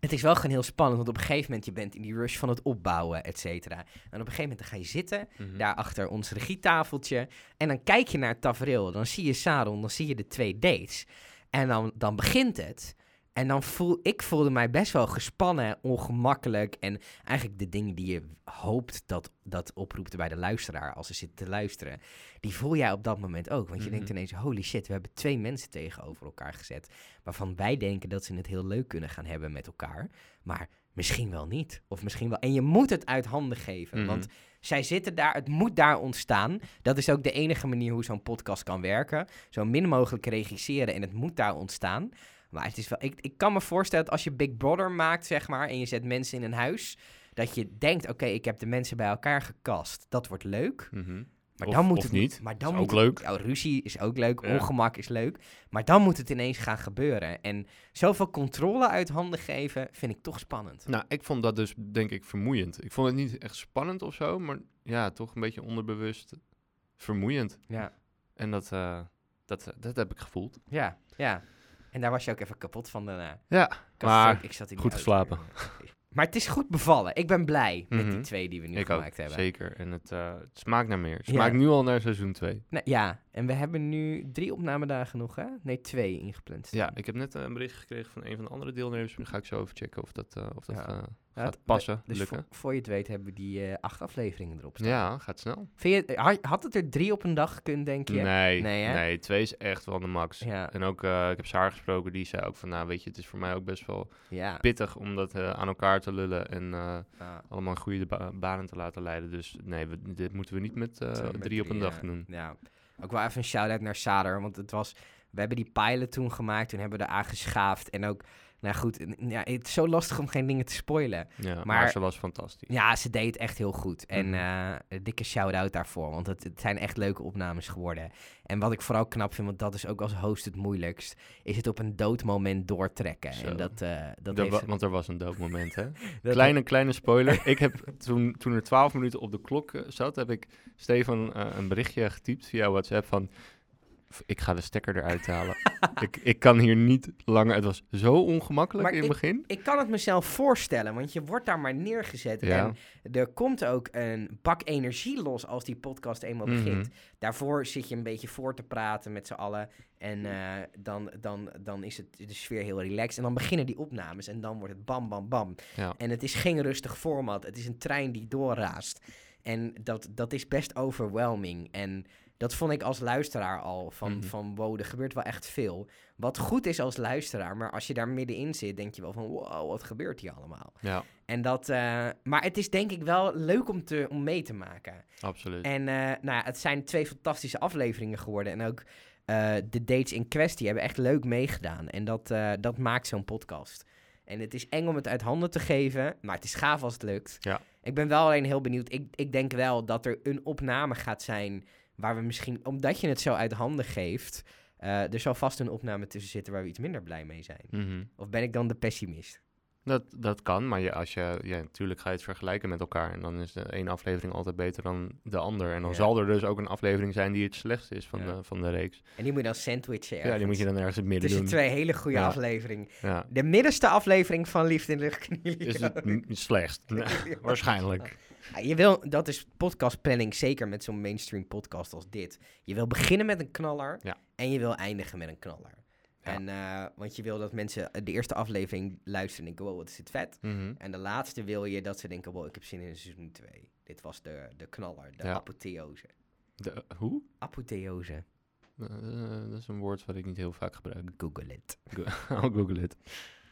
Speaker 1: het is wel gewoon heel spannend, want op een gegeven moment je bent in die rush van het opbouwen, et cetera. En op een gegeven moment dan ga je zitten,
Speaker 3: mhm.
Speaker 1: daar achter ons regietafeltje. En dan kijk je naar het tafereel, dan zie je Saron, dan zie je de twee dates. En dan, dan begint het. En dan voel ik voelde mij best wel gespannen, ongemakkelijk. En eigenlijk de dingen die je hoopt dat, dat oproept bij de luisteraar als ze zitten te luisteren, die voel jij op dat moment ook. Want je
Speaker 3: Mhm.
Speaker 1: denkt ineens, holy shit, we hebben twee mensen tegenover elkaar gezet. Waarvan wij denken dat ze het heel leuk kunnen gaan hebben met elkaar. Maar misschien wel niet. Of misschien wel. En je moet het uit handen geven.
Speaker 3: Mhm.
Speaker 1: Want zij zitten daar, het moet daar ontstaan. Dat is ook de enige manier hoe zo'n podcast kan werken. Zo min mogelijk regisseren en het moet daar ontstaan. Maar het is wel, ik, ik kan me voorstellen dat als je Big Brother maakt, zeg maar, en je zet mensen in een huis, dat je denkt, oké, ik heb de mensen bij elkaar gekast. Dat wordt leuk.
Speaker 3: Mhm.
Speaker 1: Maar
Speaker 3: Of-
Speaker 1: dan moet
Speaker 3: of
Speaker 1: het
Speaker 3: niet.
Speaker 1: Maar dan
Speaker 3: Is
Speaker 1: moet
Speaker 3: ook leuk.
Speaker 1: Het, ja, ruzie is ook leuk,
Speaker 3: Ja.
Speaker 1: ongemak is leuk. Maar dan moet het ineens gaan gebeuren. En zoveel controle uit handen geven vind ik toch spannend.
Speaker 3: Nou, ik vond dat dus denk ik vermoeiend. Ik vond het niet echt spannend of zo, maar ja, toch een beetje onderbewust vermoeiend.
Speaker 1: Ja,
Speaker 3: En dat, eh, dat, eh, dat heb ik gevoeld.
Speaker 1: ja, ja. En daar was je ook even kapot van daarna.
Speaker 3: Ja,
Speaker 1: Ik had
Speaker 3: maar
Speaker 1: het ook- ik zat in die
Speaker 3: goed
Speaker 1: auto.
Speaker 3: geslapen.
Speaker 1: Maar het is goed bevallen. Ik ben blij met die
Speaker 3: Mhm.
Speaker 1: twee die we nu
Speaker 3: ik ook.
Speaker 1: gemaakt hebben.
Speaker 3: Zeker. En het, eh, het smaakt naar meer. Het
Speaker 1: Ja.
Speaker 3: smaakt nu al naar seizoen 2.
Speaker 1: Nou, ja, en we hebben nu drie opnamedagen nog, hè? Nee, twee ingepland. staan.
Speaker 3: Ja, ik heb net eh, een bericht gekregen van een van de andere deelnemers. Dan ga ik zo even checken of dat, eh, of dat
Speaker 1: Ja.
Speaker 3: eh,
Speaker 1: Ja,
Speaker 3: gaat
Speaker 1: het-
Speaker 3: passen,
Speaker 1: Dus
Speaker 3: lukken.
Speaker 1: Voor, voor je het weet hebben we die eh, acht afleveringen erop staan.
Speaker 3: Ja, gaat snel.
Speaker 1: Vind je, eh, had- had het er drie op een dag gekund, denk je?
Speaker 3: Nee,
Speaker 1: Nee, hè?
Speaker 3: nee, twee is echt wel de max.
Speaker 1: Ja,
Speaker 3: En ook, eh, ik heb haar gesproken, die zei ook van, nou weet je, het is voor mij ook best wel
Speaker 1: ja.
Speaker 3: pittig om dat eh, aan elkaar te lullen en eh,
Speaker 1: Ah,
Speaker 3: allemaal goede ba- banen te laten leiden. Dus nee, we- dit moeten we niet met eh,
Speaker 1: zo met
Speaker 3: drie op een dag
Speaker 1: ja.
Speaker 3: doen.
Speaker 1: Ja. Ook wel even een shout-out naar Sader, want het was... We hebben die pilot toen gemaakt, toen hebben we eraan geschaafd. En ook, nou goed, n- ja, het is zo lastig om geen dingen te spoilen.
Speaker 3: Ja, maar,
Speaker 1: Maar-
Speaker 3: ze was fantastisch.
Speaker 1: Ja, ze deed het echt heel goed. En
Speaker 3: Mhm.
Speaker 1: eh, een dikke shout-out daarvoor. Want het, het zijn echt leuke opnames geworden. En wat ik vooral knap vind, want dat is ook als host het moeilijkst, is het op een dood moment doortrekken.
Speaker 3: Zo.
Speaker 1: En dat, eh dat
Speaker 3: Er
Speaker 1: heeft
Speaker 3: wa-
Speaker 1: ze-
Speaker 3: want er was een dood moment, hè?
Speaker 1: dat-
Speaker 3: Kleine, kleine spoiler. ik heb toen, toen er twaalf minuten op de klok eh, zat, heb ik Stefan eh, een berichtje getypt via WhatsApp van... "F- ik ga de stekker eruit halen. ik, ik kan hier niet langer. Het was zo ongemakkelijk
Speaker 1: Maar
Speaker 3: in het begin.
Speaker 1: Ik kan het mezelf voorstellen, want je wordt daar maar neergezet.
Speaker 3: Ja.
Speaker 1: En er komt ook een bak energie los als die podcast eenmaal
Speaker 3: Mhm.
Speaker 1: begint. Daarvoor zit je een beetje voor te praten met z'n allen. En eh, dan, dan, dan is het, de sfeer heel relaxed. En dan beginnen die opnames en dan wordt het bam, bam, bam.
Speaker 3: Ja.
Speaker 1: En het is geen rustig format. Het is een trein die doorraast. En dat, dat is best overwhelming. En dat vond ik als luisteraar al. Van,
Speaker 3: Mhm.
Speaker 1: van wow, er gebeurt wel echt veel. Wat goed is als luisteraar. Maar als je daar middenin zit, denk je wel van wow, wat gebeurt hier allemaal?
Speaker 3: ja,
Speaker 1: En dat, eh, maar het is denk ik wel leuk om, te, om mee te maken.
Speaker 3: absoluut.
Speaker 1: En eh, nou, ja, het zijn twee fantastische afleveringen geworden. En ook eh, de dates in kwestie hebben echt leuk meegedaan. En dat, eh, dat maakt zo'n podcast. En het is eng om het uit handen te geven, maar het is gaaf als het lukt.
Speaker 3: Ja.
Speaker 1: Ik ben wel alleen heel benieuwd. Ik, ik denk wel dat er een opname gaat zijn waar we misschien, omdat je het zo uit handen geeft, eh, er zal vast een opname tussen zitten waar we iets minder blij mee zijn.
Speaker 3: Mhm.
Speaker 1: Of ben ik dan de pessimist?
Speaker 3: dat, dat kan, maar je, als je, ja, natuurlijk ga je het vergelijken met elkaar. En dan is de ene aflevering altijd beter dan de ander. En dan
Speaker 1: Ja.
Speaker 3: zal er dus ook een aflevering zijn die het slechtst is van,
Speaker 1: Ja.
Speaker 3: de, van de reeks.
Speaker 1: En die moet je dan sandwichen.
Speaker 3: Ja, die moet je dan ergens in het midden
Speaker 1: Tussen
Speaker 3: doen.
Speaker 1: twee hele goede
Speaker 3: Ja.
Speaker 1: afleveringen.
Speaker 3: Ja.
Speaker 1: De middenste aflevering van Liefde in de Knieën.
Speaker 3: Is het m- slechtst?
Speaker 1: Ja.
Speaker 3: Waarschijnlijk.
Speaker 1: Ja, je wil, dat is podcastplanning, zeker met zo'n mainstream podcast als dit. Je wil beginnen met een knaller
Speaker 3: Ja.
Speaker 1: en je wil eindigen met een knaller.
Speaker 3: Ja.
Speaker 1: En, eh, want je wil dat mensen eh, de eerste aflevering luisteren en denken, wow, wat is dit vet.
Speaker 3: Mhm.
Speaker 1: En de laatste wil je dat ze denken, wow, ik heb zin in seizoen 2. Dit was de, de knaller, de
Speaker 3: Ja.
Speaker 1: apotheose.
Speaker 3: De- hoe?
Speaker 1: Apotheose,
Speaker 3: Eh, dat is een woord wat ik niet heel vaak gebruik.
Speaker 1: google it.
Speaker 3: Go- I'll Google it.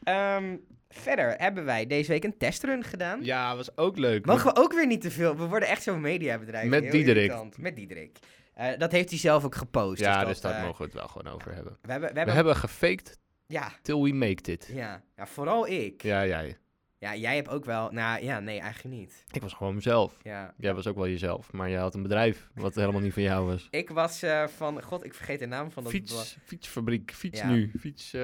Speaker 1: Ehm, verder hebben wij deze week een testrun gedaan.
Speaker 3: Ja, was ook leuk.
Speaker 1: Mogen we ook weer niet te veel? We worden echt zo'n mediabedrijf.
Speaker 3: Met
Speaker 1: Heel
Speaker 3: Diederik.
Speaker 1: irritant. Met Diederik. Eh, dat heeft hij zelf ook gepost.
Speaker 3: ja, dus daar
Speaker 1: eh,
Speaker 3: mogen we het wel gewoon over hebben.
Speaker 1: We hebben, we
Speaker 3: We
Speaker 1: hebben,
Speaker 3: hebben gefaked
Speaker 1: Ja,
Speaker 3: till we make it.
Speaker 1: ja, ja, vooral ik. Ja.
Speaker 3: Ja, jij.
Speaker 1: jij hebt ook wel... Nou ja, nee, eigenlijk niet.
Speaker 3: Ik was gewoon mezelf.
Speaker 1: Ja.
Speaker 3: Jij was ook wel jezelf, maar jij had een bedrijf wat helemaal niet van jou was.
Speaker 1: Ik was eh, van... God, ik vergeet de naam van dat... blad.
Speaker 3: Fiets, fietsfabriek, fiets
Speaker 1: Ja.
Speaker 3: nu, fiets, eh,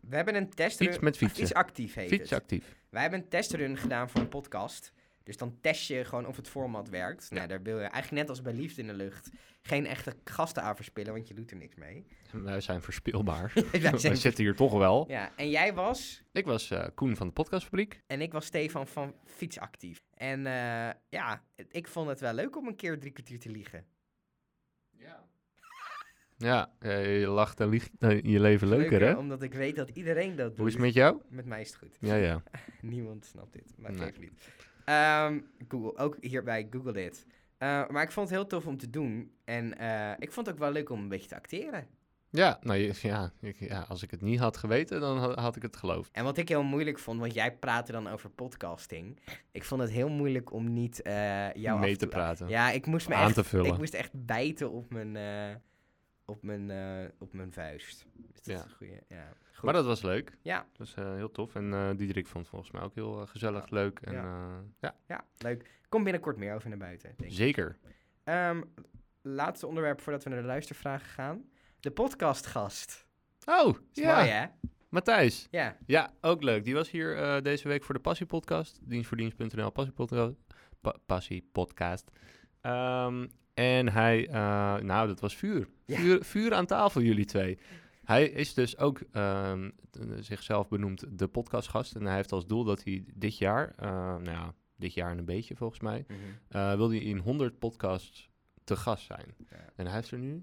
Speaker 1: We hebben een testrun...
Speaker 3: fiets met fietsen,
Speaker 1: Fietsactief heet het.
Speaker 3: fietsactief.
Speaker 1: Wij hebben een testrun gedaan voor een podcast. Dus dan test je gewoon of het format werkt. Nou, daar wil je eigenlijk net als bij Liefde in de Lucht... geen echte gasten aan verspillen, want je doet er niks mee.
Speaker 3: Wij zijn verspeelbaar.
Speaker 1: Wij
Speaker 3: We
Speaker 1: zijn-
Speaker 3: zitten hier toch wel.
Speaker 1: Ja, en jij was...
Speaker 3: Ik was eh, Koen van de podcastfabriek.
Speaker 1: En ik was Stefan van Fietsactief. En eh, ja, ik vond het wel leuk om een keer drie kwartier te liegen.
Speaker 3: Ja. Ja, eh, je lacht en liegt eh, je leven leuker, hè?
Speaker 1: Omdat ik weet dat iedereen dat doet.
Speaker 3: Hoe is het met jou?
Speaker 1: Met mij is het goed.
Speaker 3: Ja, ja.
Speaker 1: Niemand snapt dit, maar
Speaker 3: Nee.
Speaker 1: geeft niet. Ehm, Google, ook hierbij Google dit. Eh, maar ik vond het heel tof om te doen. En eh, ik vond het ook wel leuk om een beetje te acteren.
Speaker 3: Ja, nou je- ja, ik, ja, als ik het niet had geweten, dan had, had ik het geloofd.
Speaker 1: En wat ik heel moeilijk vond, want jij praatte dan over podcasting. Ik vond het heel moeilijk om niet eh jou af
Speaker 3: mee
Speaker 1: en
Speaker 3: te
Speaker 1: toe-
Speaker 3: praten,
Speaker 1: Ja, ik moest me
Speaker 3: aan
Speaker 1: echt
Speaker 3: te vullen.
Speaker 1: Ik moest echt bijten op mijn, eh, op mijn, eh, op mijn vuist. Is dat
Speaker 3: Ja.
Speaker 1: een goeie? Ja. Goed.
Speaker 3: maar dat was leuk.
Speaker 1: Ja.
Speaker 3: Dat was eh, heel tof. En eh Diederik vond het volgens mij ook heel eh, gezellig, leuk. En, ja. ja,
Speaker 1: ja, leuk. Kom binnenkort meer over naar buiten. Denk ik.
Speaker 3: zeker.
Speaker 1: Ehm, laatste onderwerp voordat we naar de luistervragen gaan. De podcastgast.
Speaker 3: Oh,
Speaker 1: Is
Speaker 3: ja.
Speaker 1: mooi, hè?
Speaker 3: Matthijs.
Speaker 1: Ja.
Speaker 3: Ja, ook leuk. Die was hier eh, deze week voor de Passiepodcast. Dienstvoordienst.nl Passiepodcast. Pa- Passiepodcast. Ehm, en hij, eh, nou, dat was vuur.
Speaker 1: Ja.
Speaker 3: vuur. Vuur aan tafel, jullie twee. Hij is dus ook ehm, t- zichzelf benoemd de podcastgast. En hij heeft als doel dat hij dit jaar, eh, nou ja, dit jaar en een beetje volgens mij,
Speaker 1: Mhm.
Speaker 3: eh, wil hij in 100 podcasts te gast zijn.
Speaker 1: Ja.
Speaker 3: En hij heeft er nu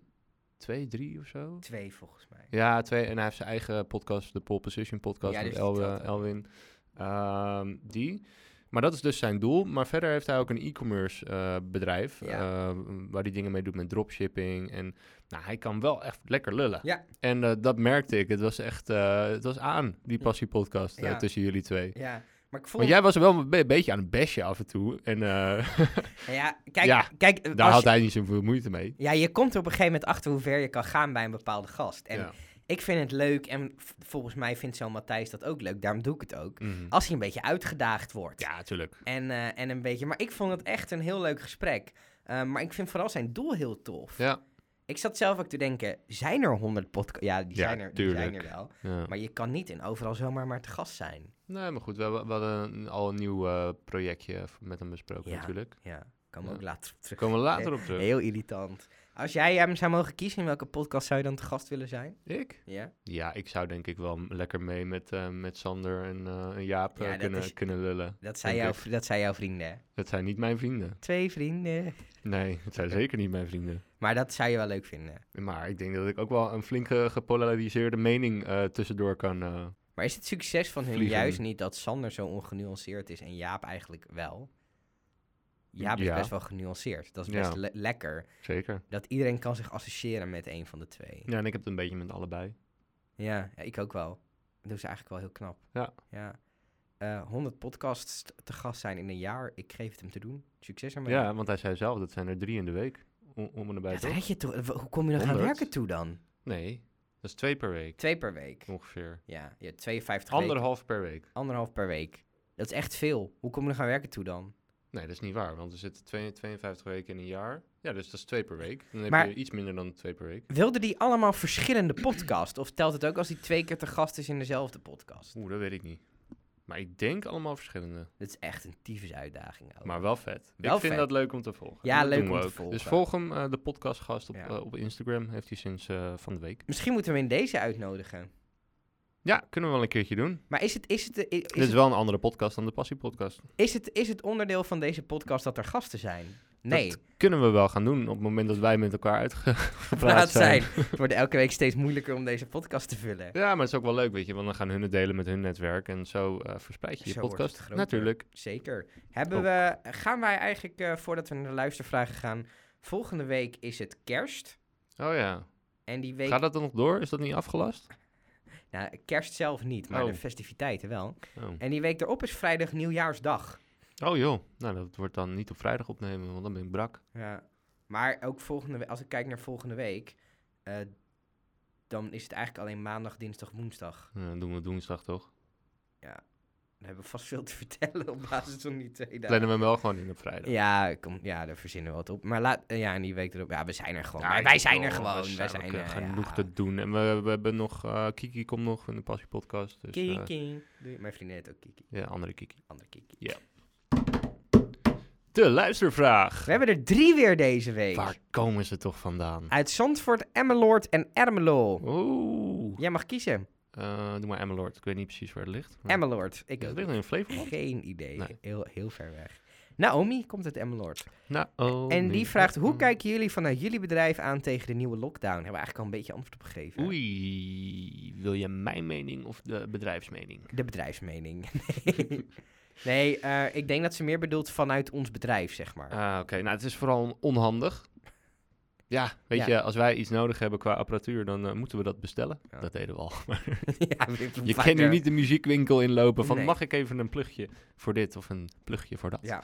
Speaker 3: twee, drie of zo.
Speaker 1: Twee volgens mij.
Speaker 3: Ja, twee. En hij heeft zijn eigen podcast, de Pole Position podcast
Speaker 1: Ja,
Speaker 3: met
Speaker 1: dus die
Speaker 3: Elwin.
Speaker 1: telt ook.
Speaker 3: Elwin. Ehm, die. Maar dat is dus zijn doel. Maar verder heeft hij ook een e-commerce eh, bedrijf.
Speaker 1: Ja.
Speaker 3: eh, waar hij dingen mee doet met dropshipping. En nou, hij kan wel echt lekker lullen.
Speaker 1: Ja.
Speaker 3: En eh, dat merkte ik. Het was echt eh, het was aan, die
Speaker 1: Ja.
Speaker 3: passiepodcast eh,
Speaker 1: Ja.
Speaker 3: tussen jullie twee.
Speaker 1: Ja. Maar ik voel...
Speaker 3: Want jij was wel een be- beetje aan het besje af en toe. En eh,
Speaker 1: Ja, kijk,
Speaker 3: Ja,
Speaker 1: kijk eh,
Speaker 3: daar
Speaker 1: als
Speaker 3: had
Speaker 1: je-
Speaker 3: hij niet zoveel moeite mee.
Speaker 1: Ja, je komt er op een gegeven moment achter hoe ver je kan gaan bij een bepaalde gast. En
Speaker 3: Ja.
Speaker 1: ik vind het leuk en v- volgens mij vindt zo'n Matthijs dat ook leuk. Daarom doe ik het ook.
Speaker 3: Mhm.
Speaker 1: Als hij een beetje uitgedaagd wordt.
Speaker 3: ja, natuurlijk.
Speaker 1: En, eh, en een beetje. Maar ik vond het echt een heel leuk gesprek. Eh, maar ik vind vooral zijn doel heel tof.
Speaker 3: Ja.
Speaker 1: Ik zat zelf ook te denken: zijn er 100 podcasts? Ja, die
Speaker 3: Ja,
Speaker 1: zijn, er, die zijn
Speaker 3: tuurlijk.
Speaker 1: er wel.
Speaker 3: ja.
Speaker 1: Maar je kan niet in overal zomaar maar te gast zijn.
Speaker 3: Nee, maar goed, we hebben, we hadden een- al een nieuw eh, projectje v- met hem besproken
Speaker 1: Ja.
Speaker 3: natuurlijk.
Speaker 1: Ja. Komen we
Speaker 3: Ja.
Speaker 1: ook later op terug.
Speaker 3: Komen we later op terug.
Speaker 1: Heel irritant. Als jij hem zou mogen kiezen, in welke podcast zou je dan te gast willen zijn?
Speaker 3: Ik?
Speaker 1: Ja?
Speaker 3: Ja, ik zou denk ik wel m- lekker mee met, eh, met Sander en, eh, en Jaap eh,
Speaker 1: Ja, dat
Speaker 3: kunnen,
Speaker 1: is-
Speaker 3: kunnen lullen.
Speaker 1: Dat zijn,
Speaker 3: Denk
Speaker 1: jouw,
Speaker 3: ik.
Speaker 1: vri- dat zijn jouw vrienden. hè?
Speaker 3: Dat zijn niet mijn vrienden.
Speaker 1: Twee vrienden.
Speaker 3: Nee, het zijn zeker niet mijn vrienden.
Speaker 1: Maar dat zou je wel leuk vinden.
Speaker 3: Maar ik denk dat ik ook wel een flinke gepolariseerde mening eh, tussendoor kan. eh,
Speaker 1: Maar is het succes van hun
Speaker 3: Vliegen.
Speaker 1: juist niet dat Sander zo ongenuanceerd is en Jaap eigenlijk wel? Jaap is
Speaker 3: Ja.
Speaker 1: best wel genuanceerd. Dat is best
Speaker 3: Ja.
Speaker 1: le- lekker.
Speaker 3: zeker.
Speaker 1: Dat iedereen kan zich associëren met een van de twee.
Speaker 3: Ja, en ik heb het een beetje met allebei.
Speaker 1: Ja, ja, ik ook wel. Dat doen ze eigenlijk wel heel knap.
Speaker 3: Ja.
Speaker 1: ja. Eh, 100 podcasts t- te gast zijn in een jaar. Ik geef het hem te doen. Succes ermee.
Speaker 3: Ja, want hij zei zelf, dat zijn er drie in de week. Om, om en nabij
Speaker 1: Ja, dat
Speaker 3: toch?
Speaker 1: red je toch? Hoe kom je nog aan
Speaker 3: 100?
Speaker 1: werken toe dan?
Speaker 3: Nee, dat is twee per week
Speaker 1: Twee per week.
Speaker 3: ongeveer.
Speaker 1: Ja, je hebt 52 weken.
Speaker 3: Anderhalf per week.
Speaker 1: Anderhalf per week. Dat is echt veel. Hoe kom je nog aan werken toe dan?
Speaker 3: Nee, dat is niet waar, want er zitten twee- 52 weken in een jaar. Ja, dus dat is twee per week. Dan heb
Speaker 1: Maar-
Speaker 3: je iets minder dan twee per week.
Speaker 1: Wilden die allemaal verschillende podcasts? Of telt het ook als die twee keer te gast is in dezelfde podcast?
Speaker 3: Oeh, dat weet ik niet. Maar ik denk allemaal verschillende.
Speaker 1: Dat is echt een tyfus uitdaging ook.
Speaker 3: Maar wel vet.
Speaker 1: Wel
Speaker 3: ik vind
Speaker 1: vet.
Speaker 3: dat leuk om te volgen.
Speaker 1: Ja,
Speaker 3: En dat
Speaker 1: leuk
Speaker 3: doen we
Speaker 1: om te
Speaker 3: ook.
Speaker 1: volgen.
Speaker 3: Dus volg hem, eh, de podcastgast op,
Speaker 1: Ja.
Speaker 3: eh, op Instagram. Heeft hij sinds eh, van de week.
Speaker 1: Misschien moeten we hem in deze uitnodigen.
Speaker 3: Ja, kunnen we wel een keertje doen.
Speaker 1: Maar is het, is het, is
Speaker 3: Dit is
Speaker 1: het,
Speaker 3: wel een andere podcast dan de Passie Podcast.
Speaker 1: is het, is het onderdeel van deze podcast dat er gasten zijn? Nee.
Speaker 3: Dat kunnen we wel gaan doen op het moment dat wij met elkaar uitgepraat
Speaker 1: Praat
Speaker 3: zijn.
Speaker 1: zijn. Het wordt elke week steeds moeilijker om deze podcast te vullen.
Speaker 3: Ja, maar het is ook wel leuk, weet je. Want dan gaan hun het delen met hun netwerk. En zo eh, verspreid je je
Speaker 1: Zo wordt het
Speaker 3: podcast.
Speaker 1: groter.
Speaker 3: Natuurlijk.
Speaker 1: Zeker. Hebben
Speaker 3: Ook.
Speaker 1: we, gaan wij eigenlijk, eh, voordat we naar de luistervragen gaan, volgende week is het kerst.
Speaker 3: Oh ja.
Speaker 1: En die week,
Speaker 3: Gaat dat dan nog door? Is dat niet afgelast?
Speaker 1: nou, kerst zelf niet, maar
Speaker 3: Oh.
Speaker 1: de festiviteiten wel.
Speaker 3: Oh.
Speaker 1: En die week erop is vrijdag nieuwjaarsdag.
Speaker 3: Oh, joh. Nou, dat wordt dan niet op vrijdag opnemen, want dan ben ik brak.
Speaker 1: Ja. Maar ook volgende week, als ik kijk naar volgende week, eh, dan is het eigenlijk alleen maandag, dinsdag, woensdag.
Speaker 3: Nou, dan doen we woensdag toch?
Speaker 1: Dan hebben we vast veel te vertellen op basis van die twee dagen.
Speaker 3: Plannen we hem wel gewoon in op vrijdag.
Speaker 1: Ja, kom, ja, daar verzinnen we wat op. Maar laat, eh, ja, en die week erop, ja, we zijn er gewoon.
Speaker 3: Ja,
Speaker 1: wij,
Speaker 3: ik
Speaker 1: wij
Speaker 3: denk
Speaker 1: zijn
Speaker 3: wel,
Speaker 1: er gewoon.
Speaker 3: We
Speaker 1: wij
Speaker 3: zijn, we
Speaker 1: zijn
Speaker 3: kunnen
Speaker 1: er
Speaker 3: genoeg
Speaker 1: ja.
Speaker 3: te dus, doen. En we, we hebben nog... eh, Kiki komt nog in de Passie Podcast. Dus, eh,
Speaker 1: Kiki. Doei. Mijn vriendin heet ook Kiki.
Speaker 3: ja, andere Kiki.
Speaker 1: Andere Kiki.
Speaker 3: De luistervraag.
Speaker 1: We hebben er drie weer deze week.
Speaker 3: Waar komen ze toch vandaan?
Speaker 1: Uit Zandvoort, Emmeloord en Ermelo.
Speaker 3: Oeh.
Speaker 1: Jij mag kiezen.
Speaker 3: Eh, doe maar Emmeloord. Ik weet niet precies waar het ligt. maar-
Speaker 1: Emmeloord. Ik
Speaker 3: Ja, Het
Speaker 1: ook
Speaker 3: ligt in Flevoland.
Speaker 1: geen idee.
Speaker 3: Nee.
Speaker 1: Heel, heel ver weg. Naomi komt uit Emmeloord.
Speaker 3: Nou, oh,
Speaker 1: en
Speaker 3: nee.
Speaker 1: die vraagt, hoe
Speaker 3: Oh.
Speaker 1: kijken jullie vanuit jullie bedrijf aan tegen de nieuwe lockdown? Hebben we eigenlijk al een beetje antwoord op gegeven.
Speaker 3: Oei, wil je mijn mening of de bedrijfsmening?
Speaker 1: De bedrijfsmening. nee, nee eh, ik denk dat ze meer bedoelt vanuit ons bedrijf, zeg maar.
Speaker 3: Ah, Oké, nou het is vooral onhandig. Ja, weet
Speaker 1: Ja.
Speaker 3: je, als wij iets nodig hebben qua apparatuur, dan eh, moeten we dat bestellen.
Speaker 1: Ja.
Speaker 3: Dat deden we al.
Speaker 1: ja,
Speaker 3: Je kan nu niet de muziekwinkel inlopen van
Speaker 1: Nee.
Speaker 3: mag ik even een plugje voor dit of een plugje voor dat.
Speaker 1: Ja,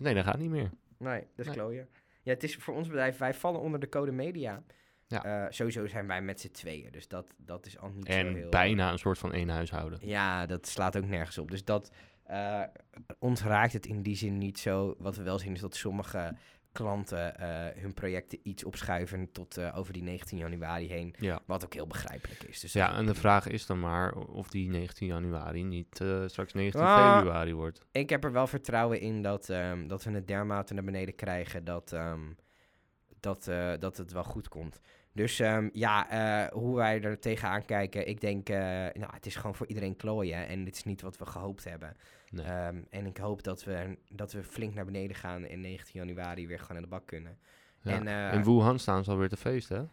Speaker 3: Nee, dat gaat niet meer.
Speaker 1: nee, dat is
Speaker 3: Nee.
Speaker 1: klooien. Ja, het is voor ons bedrijf, wij vallen onder de code media.
Speaker 3: Ja.
Speaker 1: Eh, sowieso zijn wij met z'n tweeën, dus dat, dat is al niet zo
Speaker 3: en
Speaker 1: heel... eh,
Speaker 3: bijna een soort van één huishouden.
Speaker 1: Ja, dat slaat ook nergens op. Dus dat eh, ons raakt het in die zin niet zo. Wat we wel zien is dat sommige klanten eh, hun projecten iets opschuiven tot eh, over die 19 januari heen.
Speaker 3: Ja.
Speaker 1: Wat ook heel begrijpelijk is. Dus
Speaker 3: Ja, en de vraag is dan maar of die 19 januari niet eh, straks 19
Speaker 1: Ah.
Speaker 3: februari wordt.
Speaker 1: ik heb er wel vertrouwen in dat, ehm, dat we het dermate naar beneden krijgen dat, ehm, dat, eh, dat het wel goed komt. Dus ehm, ja, eh, hoe wij er tegenaan kijken, ik denk, eh, nou, het is gewoon voor iedereen klooien en dit is niet wat we gehoopt hebben.
Speaker 3: Nee.
Speaker 1: Ehm, en ik hoop dat we, dat we flink naar beneden gaan en 19 januari weer gewoon aan de bak kunnen.
Speaker 3: Ja.
Speaker 1: En, eh,
Speaker 3: in Wuhan staan ze alweer te feesten, hè?